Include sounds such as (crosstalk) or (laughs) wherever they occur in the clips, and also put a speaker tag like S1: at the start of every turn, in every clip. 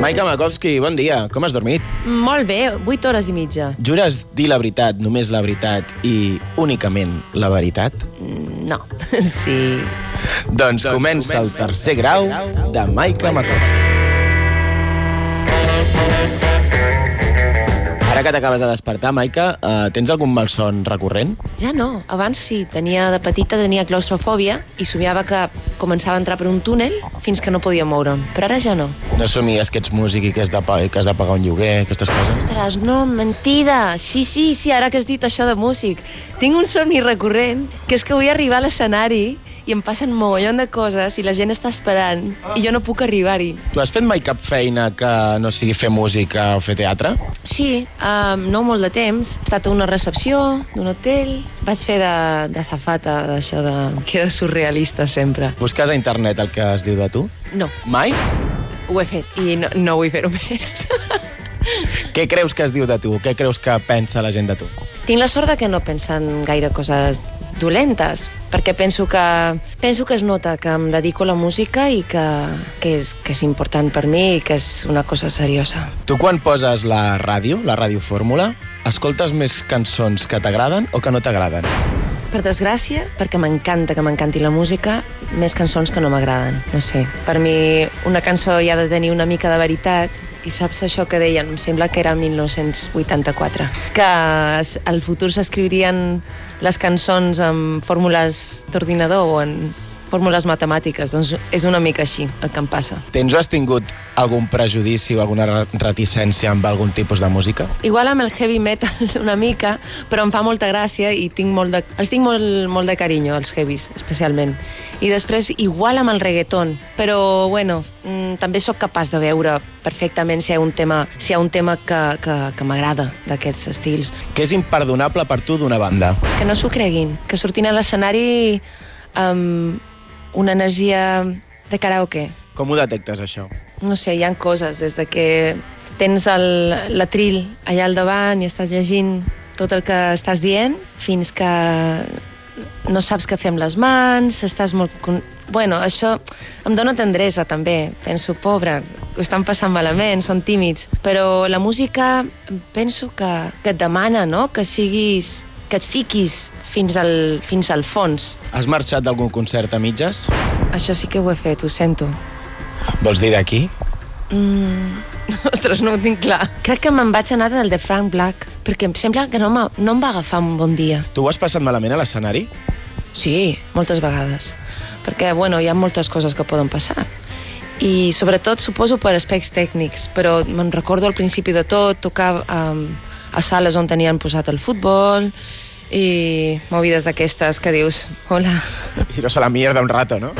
S1: Maica Makovski, bon dia. Com has dormit?
S2: Molt bé, 8 hores i mitja.
S1: Jures dir la veritat, només la veritat i únicament la veritat?
S2: Mm, No, (laughs) sí.
S1: Doncs comença el tercer grau de Maica Makovski. Ara que t'acabes de despertar, Maica, eh, tens algun malson recurrent?
S2: Ja no, abans sí, tenia de petita tenia claustrofòbia i somiava que començava a entrar per un túnel fins que no podia moure'm, però ara ja no.
S1: No somies que ets músic i que has de, pa- i que has de pagar un lloguer, aquestes coses?
S2: Ostres, no, mentida! Sí, sí, sí, ara que has dit això de músic. Tinc un somni recurrent, que és que vull arribar a l'escenari i em passen mogollon de coses i la gent està esperant i jo no puc arribar-hi.
S1: Tu has fet mai cap feina que no sigui fer música o fer teatre?
S2: Sí, um, no molt de temps. He estat a una recepció d'un hotel. Vaig fer de, de zafata, d'això de... que era surrealista sempre.
S1: Busques a internet el que es diu de tu?
S2: No,
S1: Mai?
S2: ho he fet i no, no vull fer-ho més. (laughs)
S1: Què creus que es diu de tu? Què creus que pensa la gent de tu?
S2: Tinc la sort de que no pensen gaire coses dolentes, perquè penso que, penso que es nota que em dedico a la música i que, que, és, que és important per mi i que és una cosa seriosa.
S1: Tu quan poses la ràdio, la radiofórmula, escoltes més cançons que t'agraden o que no t'agraden?
S2: Per desgràcia, perquè m'encanta que m'encanti la música, més cançons que no m'agraden, no sé. Per mi una cançó hi ha de tenir una mica de veritat, i saps això que deien, em sembla que era 1984, que es- al futur s'escriurien les cançons amb fórmules d'ordinador o en fórmules matemàtiques, doncs és una mica així el que em passa.
S1: Tens o has tingut algun prejudici o alguna re- reticència amb algun tipus de música?
S2: Igual amb el heavy metal (laughs) una mica, però em fa molta gràcia i tinc molt de, els tinc molt, molt de carinyo, els heavies, especialment. I després, igual amb el reggaeton, però, bueno, mm, també sóc capaç de veure perfectament si hi ha un tema, si hi ha un tema que, que, que m'agrada d'aquests estils.
S1: Què és imperdonable per tu d'una banda?
S2: Que no s'ho creguin, que sortin a l'escenari amb una energia de karaoke.
S1: Com ho detectes, això?
S2: No sé, hi han coses, des de que tens el- l'atril allà al davant i estàs llegint tot el que estàs dient, fins que no saps què fer amb les mans, estàs molt... con- Bueno, això em dóna tendresa, també. Penso, pobre, ho estan passant malament, són tímids. Però la música penso que, que et demana, no?, que siguis... que et fiquis fins al, fins al fons.
S1: Has marxat d'algun concert a mitges?
S2: Això sí que ho he fet, ho sento.
S1: Vols dir d'aquí?
S2: Mm, (laughs) ostres, no ho tinc clar. Crec que me'n vaig anar del de Frank Black, perquè em sembla que no, m'ha- no em va agafar un bon dia.
S1: Tu ho has passat malament a l'escenari?
S2: Sí, moltes vegades. Perquè, bueno, hi ha moltes coses que poden passar. I sobretot, suposo, per aspectes tècnics. Però me'n recordo al principi de tot tocar um, a sales on tenien posat el futbol i movides d'aquestes que dius, hola, (laughs)
S1: Tiros a la mierda un rato, no?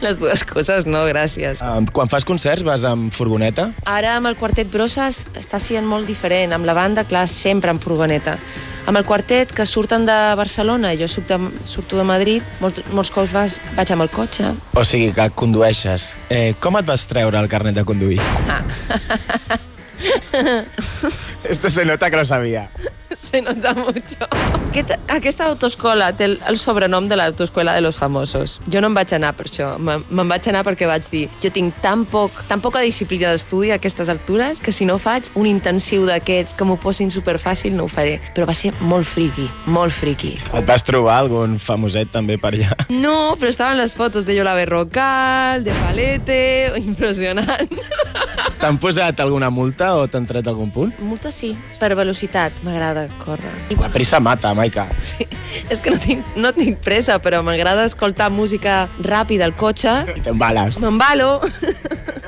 S2: les dues coses no, gràcies.
S1: Um, quan fas concerts vas amb furgoneta?
S2: Ara amb el quartet Brosses està sent molt diferent. Amb la banda, clar, sempre en furgoneta. Amb el quartet, que surten de Barcelona, i jo soc de, surto de Madrid, molt, molts cops vas, vaig amb el cotxe.
S1: O sigui que condueixes. Eh, com et vas treure el carnet de conduir?
S2: Ah.
S1: (laughs) Esto se nota que lo sabía.
S2: (laughs) Se nota mucho. Aquesta, aquesta autoescola té el, el sobrenom de l'autoescola de los famosos. Jo no em vaig anar per això. Me- Me'n vaig anar perquè vaig dir jo tinc tan, poc, tan poca disciplina d'estudi a aquestes altures que si no faig un intensiu d'aquests que m'ho posin superfàcil no ho faré. Però va ser molt friqui, molt friqui.
S1: Et vas trobar algun famoset també per allà?
S2: (laughs) No, pero estaban las fotos de Yola Berrocal, de Palete, (laughs) impressionant.
S1: T'han posat alguna multa o t'han tret algun punt?
S2: Multa sí, per velocitat, m'agrada córrer.
S1: La prisa mata, Maica.
S2: És que no tinc, no tinc pressa, però m'agrada escoltar música ràpida al
S1: (laughs)
S2: cotxe.
S1: I t'embales.
S2: M'embalo.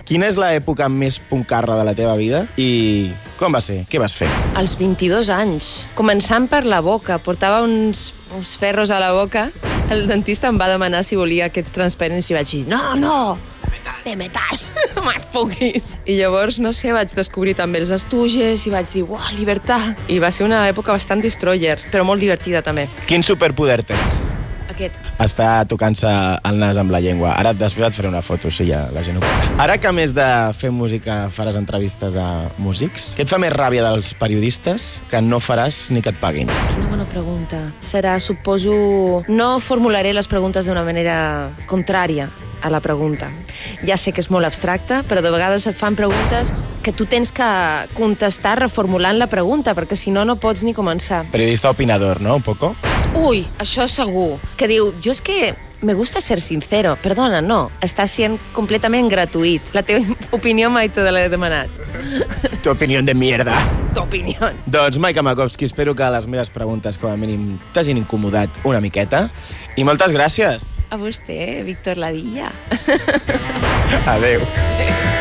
S1: Quina és l'època més puncarra de la teva vida? I com va ser? Què vas fer?
S2: Als 22 anys, començant per la boca, portava uns, uns ferros a la boca. El dentista em va demanar si volia aquests transparents i vaig dir, no, no, de metal, (laughs) más poquis. I llavors, no sé, vaig descobrir també els estuges i vaig dir, uau, libertat. I va ser una època bastant destroyer, però molt divertida també.
S1: Quin superpoder tens?
S2: Aquest.
S1: està tocant-se el nas amb la llengua. Ara després et faré una foto, sí, ja la gent ho coneix. Ara que a més de fer música faràs entrevistes a músics, què et fa més ràbia dels periodistes que no faràs ni que et paguin?
S2: Una bona pregunta. Serà, suposo... No formularé les preguntes d'una manera contrària a la pregunta. Ja sé que és molt abstracta, però de vegades et fan preguntes que tu tens que contestar reformulant la pregunta, perquè si no, no pots ni començar.
S1: Periodista opinador, no? Un poco?
S2: Ui, això segur. Que diu, jo és que me gusta ser sincero. Perdona, no. Està sent completament gratuït. La teva (laughs) opinió mai te l'he demanat.
S1: (laughs) Tu opinió de mierda.
S2: T'opinió.
S1: Doncs, Maica Makovski, espero que les meves preguntes com a mínim t'hagin incomodat una miqueta. I moltes gràcies.
S2: A vostè, Víctor Ladilla.
S1: Adeu.